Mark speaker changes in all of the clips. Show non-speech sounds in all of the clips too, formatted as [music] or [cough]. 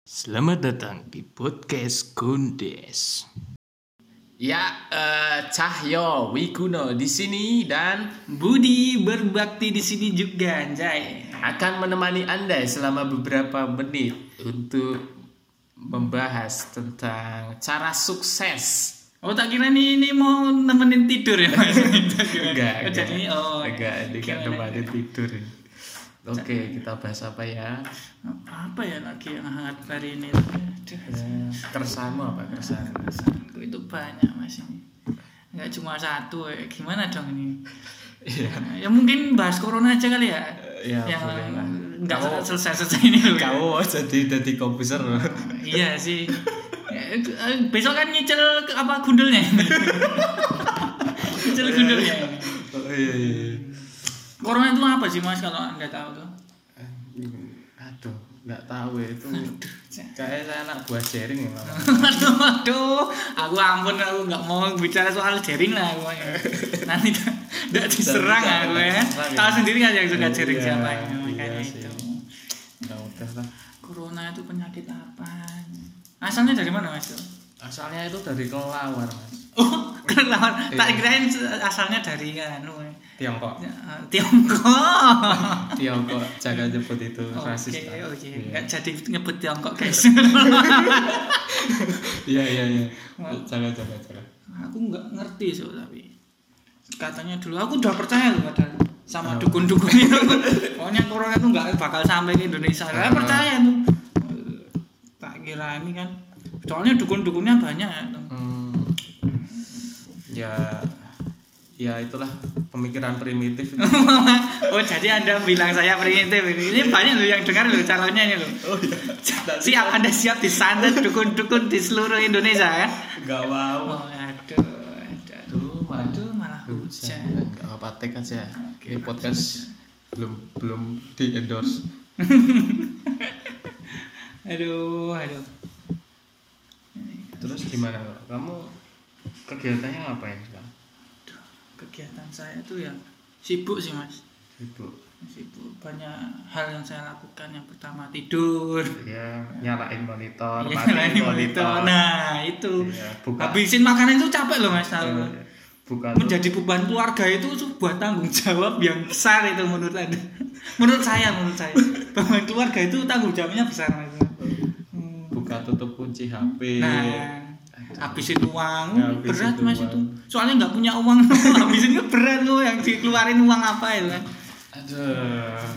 Speaker 1: Selamat datang di podcast Gondes.
Speaker 2: Ya, eh, Cahyo Wikuno di sini dan
Speaker 1: Budi berbakti di sini juga, anjay.
Speaker 2: akan menemani Anda selama beberapa menit untuk membahas tentang cara sukses.
Speaker 1: Oh, tak kira nih ini mau nemenin tidur ya,
Speaker 2: [laughs]
Speaker 1: Mas.
Speaker 2: Enggak,
Speaker 1: Oh, jadi oh.
Speaker 2: enggak, enggak
Speaker 1: gimana?
Speaker 2: tempat tidur. Oke, kita bahas apa ya?
Speaker 1: Apa ya lagi yang hangat hari ini? Aduh,
Speaker 2: Eh, Keresahanmu apa keresahan?
Speaker 1: aku itu banyak, Mas ini. Enggak cuma satu, eh. gimana dong ini?
Speaker 2: Iya.
Speaker 1: Ya mungkin bahas corona aja kali ya.
Speaker 2: Ya,
Speaker 1: yang
Speaker 2: boleh lah.
Speaker 1: enggak
Speaker 2: Kamu-
Speaker 1: selesai-selesai ini loh.
Speaker 2: Kau jadi jadi komputer. [laughs]
Speaker 1: iya sih Eh, eh, besok kan nyicil ke- apa
Speaker 2: [laughs]
Speaker 1: gundelnya nyicil gundelnya
Speaker 2: Oh, iya, iya.
Speaker 1: corona itu apa sih mas kalau anda tahu tuh [laughs]
Speaker 2: Aduh, nggak tahu ya itu. Kayaknya saya anak buah sharing ya, Mama.
Speaker 1: aduh aduh aku ampun aku nggak mau bicara soal jaring lah aku nanti nggak diserang aku ya tahu sendiri kan yang suka jaring
Speaker 2: Iya,
Speaker 1: siapa
Speaker 2: iya
Speaker 1: makanya
Speaker 2: sih.
Speaker 1: itu
Speaker 2: Nggak udah lah.
Speaker 1: corona itu penyakit apa asalnya dari mana mas [laughs] tuh
Speaker 2: Asalnya itu dari kelawar, Mas.
Speaker 1: oh kelelawar
Speaker 2: Iya.
Speaker 1: tak kirain asalnya dari kan
Speaker 2: Tiongkok.
Speaker 1: Tiongkok
Speaker 2: Tiongkok jaga nyebut itu [laughs] rasis.
Speaker 1: Oke,
Speaker 2: Pak.
Speaker 1: oke.
Speaker 2: Iya.
Speaker 1: Nggak jadi nyebut Tiongkok,
Speaker 2: [laughs]
Speaker 1: guys. [laughs]
Speaker 2: Iya, iya, iya. Jaga jaga jaga.
Speaker 1: aku nggak ngerti so tapi katanya dulu aku udah percaya loh padahal sama
Speaker 2: Apa?
Speaker 1: dukun-dukun itu. Pokoknya corona itu nggak bakal sampai ke Indonesia. Saya
Speaker 2: Ah.
Speaker 1: percaya tuh. Eh, Tak kira ini kan. Soalnya dukun-dukunnya banyak. tuh.
Speaker 2: Hmm. Ya ya itulah pemikiran primitif itu.
Speaker 1: oh, jadi Anda bilang saya primitif. Ini banyak loh yang dengar loh calonnya ini loh.
Speaker 2: Oh iya. Nggak sih,
Speaker 1: Siap Anda siap disantet dukun-dukun di seluruh Indonesia ya.
Speaker 2: nggak mau.
Speaker 1: Oh, aduh, aduh.
Speaker 2: Aduh,
Speaker 1: Aduh, malah hujan.
Speaker 2: Enggak apa tek aja. Ini podcast belum belum di endorse.
Speaker 1: Aduh, aduh. gitu.
Speaker 2: Terus gimana Kak? kamu kegiatannya ngapain sekarang?
Speaker 1: Aduh, Kegiatan saya itu ya sibuk sih mas.
Speaker 2: Sibuk.
Speaker 1: Sibuk banyak hal yang saya lakukan. Yang pertama tidur.
Speaker 2: Ya nyalain monitor,
Speaker 1: Iya,
Speaker 2: matiin
Speaker 1: nyalain monitor. Nah itu
Speaker 2: Iya, buka.
Speaker 1: habisin makanan itu capek loh mas. tahu.
Speaker 2: Iya, iya. Bukan tuh.
Speaker 1: Menjadi beban keluarga itu sebuah tanggung jawab yang besar itu menurut anda. [laughs] menurut saya, menurut
Speaker 2: [laughs]
Speaker 1: saya beban keluarga itu tanggung jawabnya besar mas. Hmm.
Speaker 2: buka tutup kunci HP.
Speaker 1: Nah, habisin uang
Speaker 2: Ya, habisin
Speaker 1: berat mas
Speaker 2: uang.
Speaker 1: itu. Soalnya nggak punya uang, [laughs] habisin itu berat loh yang dikeluarin uang apa itu kan.
Speaker 2: Aduh.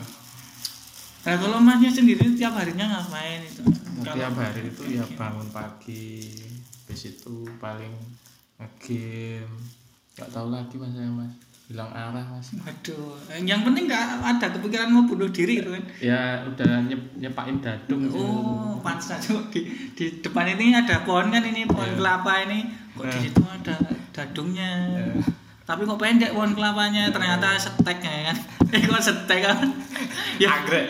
Speaker 1: Nah kalau masnya sendiri tiap harinya ngapain itu?
Speaker 2: Nah, Tiap hari itu ya bangun pagi, habis itu paling nge-game. Gak tahu lagi mas saya mas. Hilang arah mas.
Speaker 1: Waduh, yang penting nggak ada kepikiran mau bunuh diri itu kan.
Speaker 2: Ya udah nyep- nyepain dadung.
Speaker 1: Oh, pantas [laughs] aja di, di depan ini ada pohon kan ini pohon
Speaker 2: Iya.
Speaker 1: kelapa ini. Kok di
Speaker 2: Nah.
Speaker 1: situ ada dadungnya.
Speaker 2: Iya.
Speaker 1: Tapi kok pendek pohon kelapanya, ternyata seteknya ya kan. [laughs] Eh kok setek kan?
Speaker 2: ya
Speaker 1: [laughs]
Speaker 2: anggrek.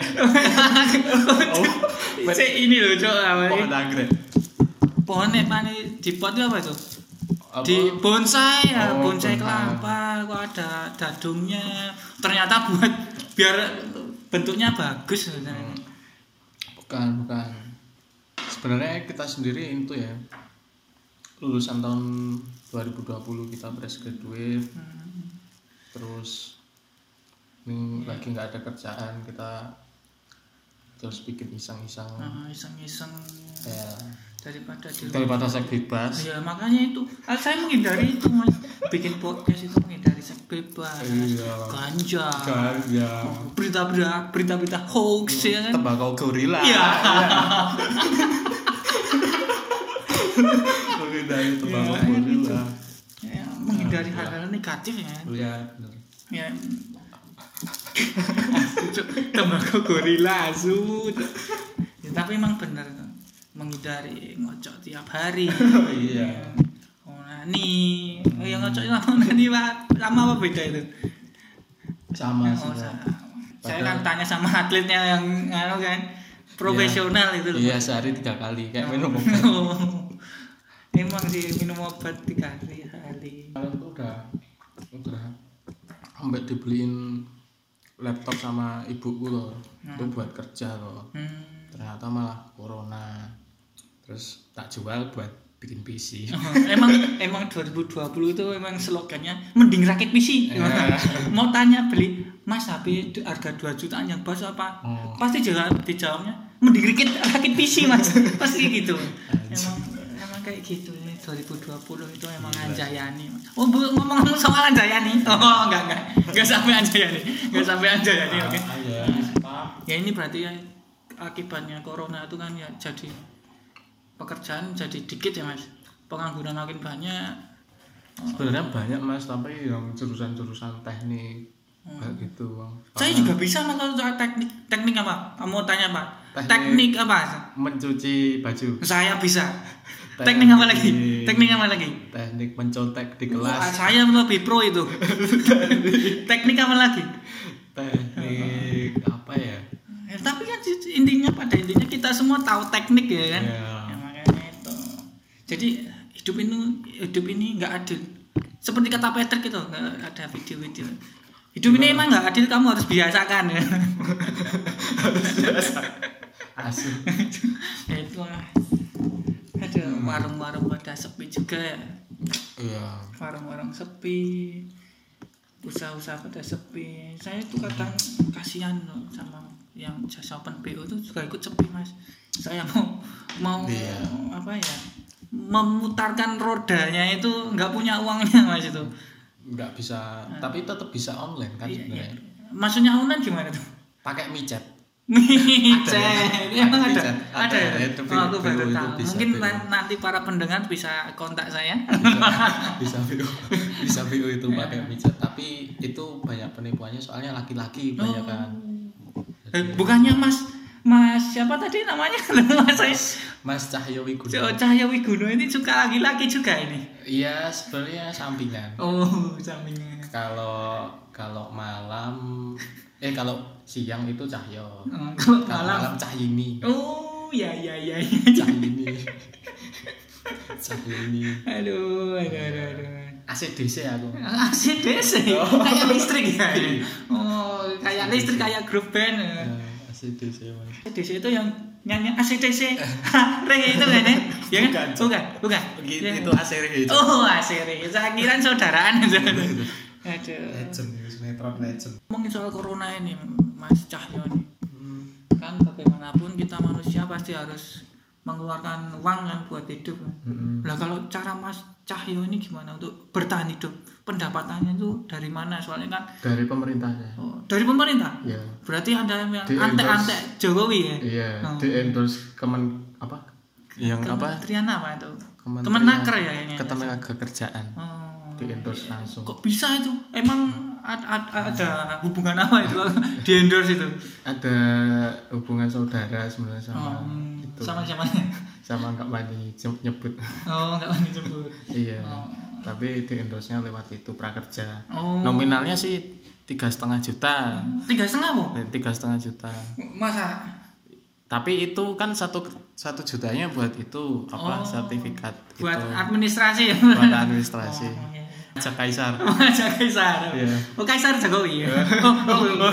Speaker 1: oh, Cek ini loh, Cok. apa ini?
Speaker 2: Iya. Pohon anggrek.
Speaker 1: Pohon apa nih? Di pot itu apa itu?
Speaker 2: Apa?
Speaker 1: Di bonsai ya,
Speaker 2: Oh, bonsai.
Speaker 1: bonsai kelapa. Kok ada dadungnya? Ternyata buat biar bentuknya bagus sebenarnya.
Speaker 2: Hmm. Bukan, bukan. Sebenarnya kita sendiri itu ya lulusan tahun 2020 kita fresh graduate
Speaker 1: Hmm.
Speaker 2: terus ini
Speaker 1: Iya.
Speaker 2: lagi nggak ada kerjaan kita terus bikin iseng-iseng
Speaker 1: Nah, iseng-iseng
Speaker 2: ya
Speaker 1: daripada di rumah.
Speaker 2: daripada saya bebas
Speaker 1: Ya makanya itu, Ah, saya menghindari itu mas. Bikin podcast itu menghindari seks bebas,
Speaker 2: Iya.
Speaker 1: ganja,
Speaker 2: kan ya
Speaker 1: berita-berita, berita-berita hoax ya kan.
Speaker 2: tembakau gorila
Speaker 1: Iya.
Speaker 2: menghindari tembakau
Speaker 1: Iya, kan
Speaker 2: gorila
Speaker 1: Ya, menghindari hal-hal negatif ya.
Speaker 2: iya bener.
Speaker 1: ya Asu, Cuk. tembakau gorila asu Ya, tapi emang bener Cuk. menghindari ngocok tiap hari
Speaker 2: iya
Speaker 1: onani oh, ya ngocok sama onani Pak. sama apa beda itu
Speaker 2: sama sih
Speaker 1: Oh,
Speaker 2: Kak.
Speaker 1: sama. saya kan tanya sama atletnya yang anu kan profesional itu loh
Speaker 2: iya sehari tiga kali kayak minum obat
Speaker 1: [laughs] emang sih minum obat tiga hari hari
Speaker 2: kalian tuh udah udah sampai dibeliin laptop sama ibuku loh itu buat kerja loh
Speaker 1: hmm.
Speaker 2: ternyata malah corona terus tak jual buat bikin PC
Speaker 1: Uh-huh. emang emang 2020 itu emang slogannya mending rakit PC
Speaker 2: Iya.
Speaker 1: mau tanya beli mas HP itu harga 2 jutaan yang bagus apa
Speaker 2: Hmm.
Speaker 1: pasti jawab dijawabnya mending rakit rakit PC mas pasti gitu emang emang kayak gitu nih 2020 itu emang anjayani Mas. oh bu ngomong-ngomong soal anjayani [laughs] oh enggak enggak enggak sampai anjayani enggak sampai anjayani oke
Speaker 2: Aja.
Speaker 1: ya ini berarti ya akibatnya corona itu kan ya jadi pekerjaan jadi dikit ya mas pengangguran makin banyak
Speaker 2: sebenarnya banyak mas tapi yang jurusan-jurusan teknik kayak gitu Bang.
Speaker 1: Hmm. saya
Speaker 2: Karena
Speaker 1: juga bisa mas kalau soal teknik teknik apa kamu tanya pak
Speaker 2: Teknik.
Speaker 1: teknik apa
Speaker 2: mencuci baju
Speaker 1: saya bisa
Speaker 2: Teknik.
Speaker 1: teknik apa lagi teknik apa lagi
Speaker 2: teknik mencontek di
Speaker 1: Wah,
Speaker 2: kelas
Speaker 1: saya lebih
Speaker 2: [laughs]
Speaker 1: pro itu teknik apa lagi
Speaker 2: teknik apa ya
Speaker 1: Eh, tapi kan intinya pada intinya kita semua tahu teknik ya kan Ya,
Speaker 2: ya
Speaker 1: makanya itu. Jadi hidup ini hidup ini nggak adil. Seperti kata Patrick itu nggak ada video-video. Hidup ini emang nggak adil, kamu harus biasakan. [laughs] ya
Speaker 2: asuh
Speaker 1: itu lah. Ada warung-warung pada sepi juga ya.
Speaker 2: iya
Speaker 1: Warung-warung sepi. Usaha-usaha pada sepi. Saya tuh kadang kasihan loh sama yang jasa open BO itu juga ikut sepi mas. Saya mau mau
Speaker 2: Iya.
Speaker 1: apa ya? memutarkan rodanya itu nggak punya uangnya mas itu.
Speaker 2: nggak bisa tapi tetap bisa online kan
Speaker 1: Ah. Iya, iya.
Speaker 2: sebenarnya
Speaker 1: Maksudnya online gimana tuh?
Speaker 2: pakai micet [laughs]
Speaker 1: Micet,
Speaker 2: ya. Ada.
Speaker 1: emang
Speaker 2: Ada
Speaker 1: ada,
Speaker 2: micet.
Speaker 1: ada,
Speaker 2: Ada,
Speaker 1: ya?
Speaker 2: itu
Speaker 1: Oh, aku
Speaker 2: video
Speaker 1: baru
Speaker 2: itu
Speaker 1: tahu.
Speaker 2: bisa,
Speaker 1: Mungkin
Speaker 2: video.
Speaker 1: na- nanti para pendengar bisa kontak saya.
Speaker 2: bisa VO bisa VO itu
Speaker 1: Iya.
Speaker 2: pakai micet tapi itu banyak penipuannya soalnya laki-laki banyak kan
Speaker 1: Oh. Eh, Bukannya Mas, Mas siapa tadi namanya? [laughs] Mas saya
Speaker 2: Mas Cahyo
Speaker 1: Oh,
Speaker 2: Wiguno
Speaker 1: Cahaya Wiguno ini suka laki-laki juga ini.
Speaker 2: iya sebenarnya sampingan
Speaker 1: Oh, sampingnya.
Speaker 2: kalau kalau malam eh kalau siang itu Cahyo
Speaker 1: Oh, kalau
Speaker 2: kalau malam
Speaker 1: malam. [laughs]
Speaker 2: Cahyini
Speaker 1: Oh, ya ya ya. ya.
Speaker 2: Cahyini Cahyini
Speaker 1: Aduh, aduh, aduh, aduh.
Speaker 2: ACDC aku
Speaker 1: ACDC kayak listrik ya. [laughs] Oh, kayak listrik kayak grup band. ya.
Speaker 2: Ya, ACDC mas
Speaker 1: ACDC itu yang nyanyi ah, ACDC Re itu kan ya? ya kan? Eh. Bukan, bukan.
Speaker 2: Begitu,
Speaker 1: Ya.
Speaker 2: itu ACR itu
Speaker 1: Oh, ACDC. Saya kira saudaraan. [laughs] Aduh.
Speaker 2: legend itu sinetron legend
Speaker 1: Ngomongin soal corona ini, Mas Cahyo nih. Kan bagaimanapun kita manusia pasti harus mengeluarkan uang kan buat hidup.
Speaker 2: Mm-mm.
Speaker 1: Lah kalau cara Mas Cahyo ini gimana untuk bertahan hidup? Pendapatannya itu dari mana? Soalnya kan
Speaker 2: dari pemerintahnya
Speaker 1: oh, dari pemerintah.
Speaker 2: ya
Speaker 1: Berarti Anda yang
Speaker 2: Di
Speaker 1: antek-antek Jokowi ya?
Speaker 2: iya
Speaker 1: Oh.
Speaker 2: di endorse kemen apa yang apa
Speaker 1: Kementerian apa itu?
Speaker 2: Kementerian-
Speaker 1: Kemenaker ya kayaknya.
Speaker 2: ketenagakerjaan
Speaker 1: Oh.
Speaker 2: di endorse langsung Hmm.
Speaker 1: Kok bisa itu? Emang ad- ad- ada hubungan apa itu [laughs] di endorse itu?
Speaker 2: ada hubungan saudara sebenarnya sama
Speaker 1: Hmm,
Speaker 2: itu
Speaker 1: sama siapa? [laughs]
Speaker 2: sama nggak mandi nyebut [laughs]
Speaker 1: Oh, enggak mandi jemput.
Speaker 2: iya tapi di endorse nya lewat itu prakerja
Speaker 1: Oh. Hmm.
Speaker 2: nominalnya sih tiga setengah juta
Speaker 1: Tiga setengah bu?
Speaker 2: tiga setengah juta
Speaker 1: Masa?
Speaker 2: tapi itu kan satu satu jutanya buat itu apa
Speaker 1: Oh.
Speaker 2: sertifikat
Speaker 1: Buat
Speaker 2: itu
Speaker 1: administrasi ya?
Speaker 2: Gitu.
Speaker 1: [laughs]
Speaker 2: buat administrasi
Speaker 1: Oh, iya.
Speaker 2: Ajak Kaisar
Speaker 1: Oh, ada Kaisar.
Speaker 2: Iya.
Speaker 1: Oh, Kaisar Jokowi ya. [laughs] Oh, oh,
Speaker 2: [laughs]
Speaker 1: oh.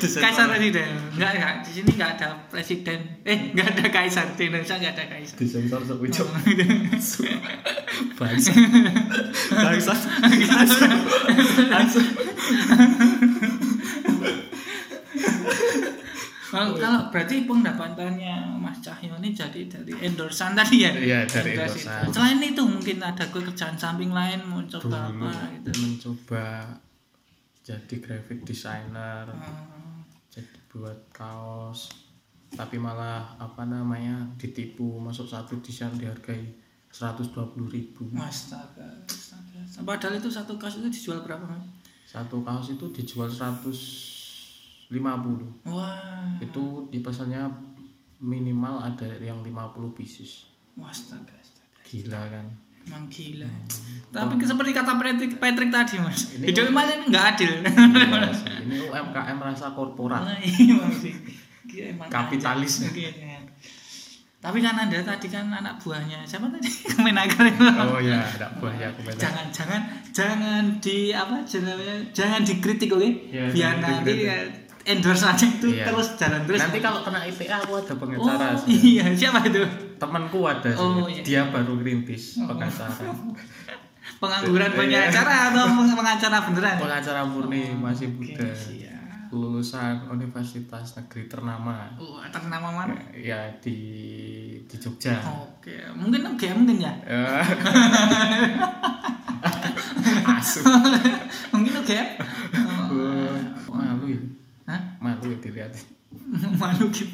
Speaker 1: Kaisar presiden. Enggak, enggak. Di sini enggak ada presiden. Eh, enggak ada Kaisar. Di Indonesia enggak ada Kaisar. iya.
Speaker 2: disensor sok ucap
Speaker 1: Oh.
Speaker 2: [laughs]
Speaker 1: Kalau kalau berarti pendapatannya Mas Cahyo ini jadi dari endorsean tadi ya?
Speaker 2: Iya, dari
Speaker 1: Endorse
Speaker 2: endorsean.
Speaker 1: itu. Selain itu mungkin ada kerjaan samping lain mau coba
Speaker 2: dulu
Speaker 1: apa gitu.
Speaker 2: mencoba jadi graphic designer
Speaker 1: Hmm.
Speaker 2: jadi buat kaos tapi malah apa namanya ditipu masuk satu desain dihargai 120.000 ribu
Speaker 1: Astaga, astaga. Padahal itu satu kaos itu dijual berapa, Mas?
Speaker 2: satu kaos itu dijual 150
Speaker 1: Wah,
Speaker 2: itu dipesannya minimal ada yang 50 pieces
Speaker 1: wah, astaga, astaga.
Speaker 2: gila
Speaker 1: [laughs]
Speaker 2: kan
Speaker 1: Emang gila. Tapi seperti kata Patrick, Patrick tadi, Mas.
Speaker 2: Hmm. Ini- Iya.
Speaker 1: Hidup Mas ini nggak adil. [laughs]
Speaker 2: Gila sih. ini UMKM rasa korporat
Speaker 1: Nah, iya, Mas. Gila, emang
Speaker 2: kapitalis
Speaker 1: Oke, ya. Tapi kan anda tadi kan anak buahnya siapa tadi [laughs] Kemenaker itu.
Speaker 2: oh ya
Speaker 1: iya,
Speaker 2: tidak buahnya komentar
Speaker 1: jangan jangan jangan di apa jenengnya jangan dikritik oke
Speaker 2: Ya,
Speaker 1: biar
Speaker 2: jangan
Speaker 1: nanti
Speaker 2: dikritik.
Speaker 1: ya, endorse aja itu
Speaker 2: Iya.
Speaker 1: terus jalan terus.
Speaker 2: Nanti kalau kena IPA aku ada pengacara.
Speaker 1: oh,
Speaker 2: sih.
Speaker 1: iya, siapa itu?
Speaker 2: Temanku ada sih.
Speaker 1: Oh, iya. Oh.
Speaker 2: Dia baru ngerintis
Speaker 1: [laughs]
Speaker 2: pengacara.
Speaker 1: Pengangguran
Speaker 2: Iya.
Speaker 1: punya acara atau peng- pengacara beneran?
Speaker 2: Pengacara murni masih
Speaker 1: Oke,
Speaker 2: muda.
Speaker 1: siap.
Speaker 2: Lulusan Universitas Negeri ternama.
Speaker 1: Oh, ternama mana?
Speaker 2: Ya di di Jogja.
Speaker 1: Oke, mungkin game mungkin ya.
Speaker 2: Eh. [laughs] Asu.
Speaker 1: [laughs] mungkin game.
Speaker 2: Wah, Malu ya.
Speaker 1: Hah? [laughs]
Speaker 2: Malu ya dilihat.
Speaker 1: Malu game.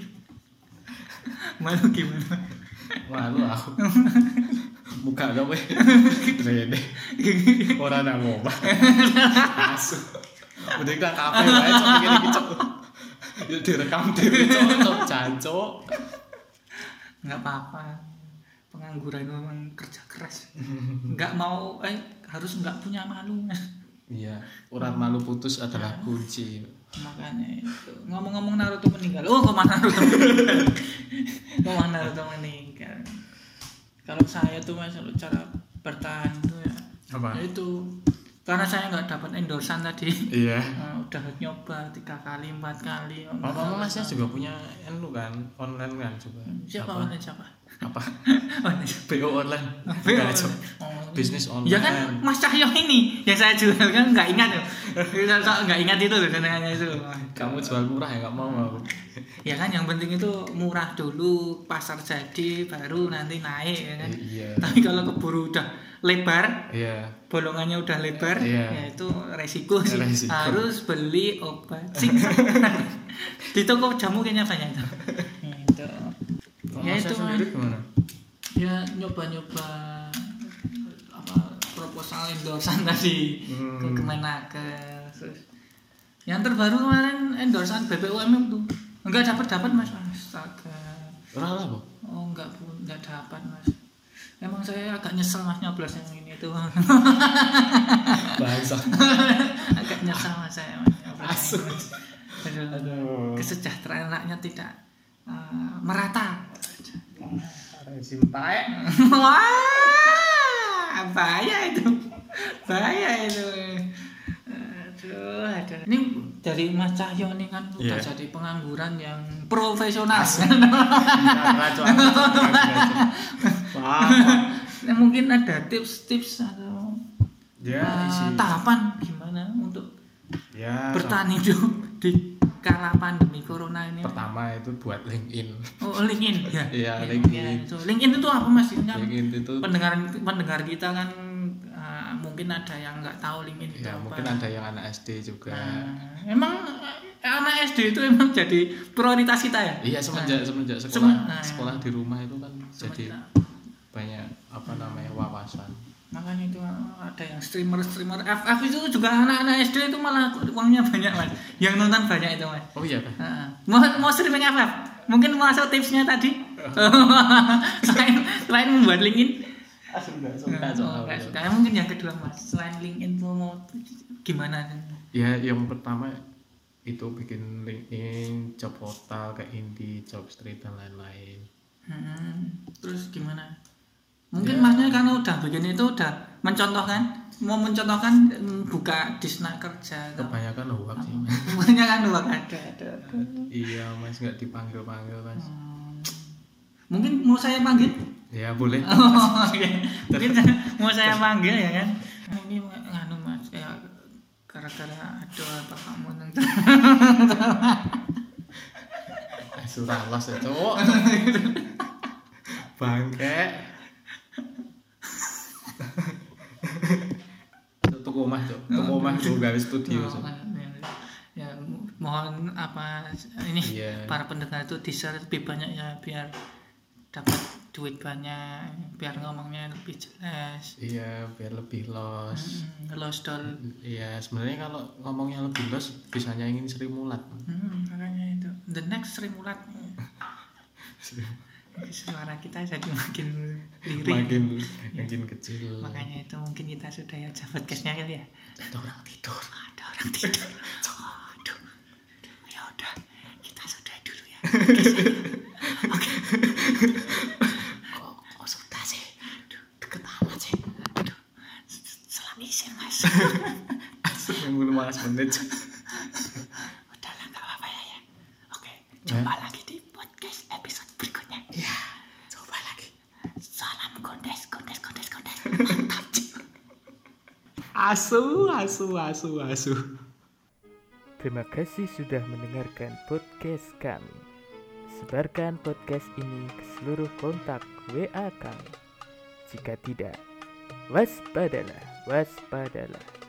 Speaker 1: Malu gimana?
Speaker 2: Malu aku. Buka gak weh. Rene. Orang nak ngomong. Asu. Udah kita kafe wae cok gini cok. Yuk direkam diri cok cok jancok.
Speaker 1: nggak apa-apa pengangguran memang kerja keras nggak mau eh harus nggak punya malu
Speaker 2: Iya, urat malu putus adalah kunci.
Speaker 1: makanya itu ngomong-ngomong Naruto meninggal oh kemana Naruto meninggal [laughs] kemana Naruto meninggal kalau saya tuh mas kalau cara bertahan tuh ya
Speaker 2: Apa?
Speaker 1: ya itu karena saya nggak dapat endorsan tadi
Speaker 2: Iya.
Speaker 1: Eh, udah nyoba tiga kali empat kali
Speaker 2: Oh, kamu masnya juga punya anu kan, online kan coba.
Speaker 1: siapa
Speaker 2: Apa?
Speaker 1: online
Speaker 2: [laughs]
Speaker 1: siapa
Speaker 2: Apa?
Speaker 1: Online
Speaker 2: BO online. Bukan,
Speaker 1: Iya,
Speaker 2: Cok.
Speaker 1: oh.
Speaker 2: Bisnis online.
Speaker 1: Ya kan Mas Cahyo ini yang saya jual kan nggak ingat ya. Saya tak- nggak ingat itu loh jenengannya itu.
Speaker 2: Kamu jual murah ya, nggak mau aku.
Speaker 1: Ya kan yang penting itu murah dulu, pasar jadi baru nanti naik ya kan.
Speaker 2: Eh, Iya.
Speaker 1: Tapi kalau keburu udah lebar,
Speaker 2: Iya.
Speaker 1: bolongannya udah lebar,
Speaker 2: Iya.
Speaker 1: ya itu resiko sih.
Speaker 2: Resiko.
Speaker 1: Harus beli obat. sih. [laughs] Di toko jamu kayaknya banyak itu. Gitu.
Speaker 2: Kalau
Speaker 1: Ya
Speaker 2: Masnya
Speaker 1: itu,
Speaker 2: sendiri gimana?
Speaker 1: Ya nyoba-nyoba apa proposal endorsan tadi. ke
Speaker 2: Hmm.
Speaker 1: Kemenaker terus yang terbaru kemarin endorsean BPUM itu enggak dapat dapat mas astaga
Speaker 2: Ora lah, Bu.
Speaker 1: oh enggak pun enggak dapat mas emang saya agak nyesel mas nyoblos yang ini tuh
Speaker 2: Bahasa.
Speaker 1: agak nyesel mas saya mas nyoblos yang ini, Mas. Aduh,
Speaker 2: Aduh.
Speaker 1: kesejahteraan rakyat tidak eh, merata
Speaker 2: Cinta.
Speaker 1: wah bahaya itu bahaya itu aduh aduh ini dari Mas Cahyo nih kan udah
Speaker 2: Iya.
Speaker 1: jadi pengangguran yang profesional [laughs] Nah, mungkin ada tips-tips atau
Speaker 2: Ya,
Speaker 1: uh,
Speaker 2: isi.
Speaker 1: tahapan gimana untuk
Speaker 2: Ya,
Speaker 1: bertahan hidup di kala pandemi corona ini
Speaker 2: pertama itu buat LinkedIn.
Speaker 1: oh LinkedIn ya
Speaker 2: Iya,
Speaker 1: Ya,
Speaker 2: LinkedIn.
Speaker 1: ya, itu. LinkedIn itu apa mas Ini kan
Speaker 2: LinkedIn itu
Speaker 1: pendengar pendengar kita kan uh, mungkin ada yang nggak tahu LinkedIn itu
Speaker 2: ya
Speaker 1: apa.
Speaker 2: mungkin ada yang anak SD juga.
Speaker 1: Nah, emang eh, anak SD itu emang jadi prioritas kita ya
Speaker 2: Iya semenjak semenjak sekolah
Speaker 1: Semen- nah, ya.
Speaker 2: sekolah di rumah itu kan jadi
Speaker 1: Sementara-
Speaker 2: banyak apa namanya wawasan.
Speaker 1: makanya itu ada yang streamer streamer FF itu juga anak-anak SD itu malah uangnya banyak mas yang nonton banyak itu mas
Speaker 2: Oh iya kan.
Speaker 1: Heeh. mau mau streaming FF mungkin masuk tipsnya
Speaker 2: [laughs]
Speaker 1: tadi [laughs] selain selain membuat LinkedIn
Speaker 2: suka,
Speaker 1: Eh,
Speaker 2: suka,
Speaker 1: oh, nggak
Speaker 2: suka.
Speaker 1: suka. Ya, mungkin yang kedua mas selain LinkedIn tuh mau gimana
Speaker 2: Ya yang pertama itu bikin LinkedIn, job portal kayak Indie, job street dan lain-lain.
Speaker 1: Hmm, terus gimana? Mungkin masnya karena udah begini itu udah mencontohkan, mau mencontohkan mm, buka disna kerja.
Speaker 2: Kebanyakan hoax sih.
Speaker 1: [laughs]
Speaker 2: Mas.
Speaker 1: Semuanya kan luar ada, ada, ada.
Speaker 2: Iya mas nggak dipanggil panggil mas.
Speaker 1: Hmm. Mungkin mau saya panggil?
Speaker 2: Ya boleh.
Speaker 1: Oh, iya. Mungkin saya- mau saya panggil ya kan? Nah, Ini nganu mas, kayak gara-gara aduh apa kamu tentang
Speaker 2: Surah los ya cowok. Bangke. Tuku omah cok. Tuku omah gue gawe studio
Speaker 1: Oh,
Speaker 2: cok.
Speaker 1: kan, ya mo- mohon apa ini
Speaker 2: Iya.
Speaker 1: para pendengar itu di share lebih banyak ya biar dapat duit banyak biar ngomongnya lebih jelas
Speaker 2: Iya biar lebih los.
Speaker 1: Mm, lost doll
Speaker 2: Iya sebenarnya kalau ngomongnya lebih los bisa nyanyiin Sri Mulat.
Speaker 1: Mm, makanya itu the next Sri Mulat suara kita jadi makin lirik
Speaker 2: Makin makin kecil.
Speaker 1: makanya itu mungkin kita sudah ya podcastnya kali ya
Speaker 2: Ada orang tidur.
Speaker 1: ada orang tidur aduh ya udah kita sudah dulu ya
Speaker 3: kok, kok sudah sih Aduh, deket amat sih Aduh, selam isir mas
Speaker 2: Asli yang gue malas menit.
Speaker 3: udahlah gak apa-apa ya.
Speaker 2: asu asu asu asu
Speaker 4: Terima kasih sudah mendengarkan podcast kami. Sebarkan podcast ini ke seluruh kontak WA kami. Jika tidak, waspadalah, waspadalah.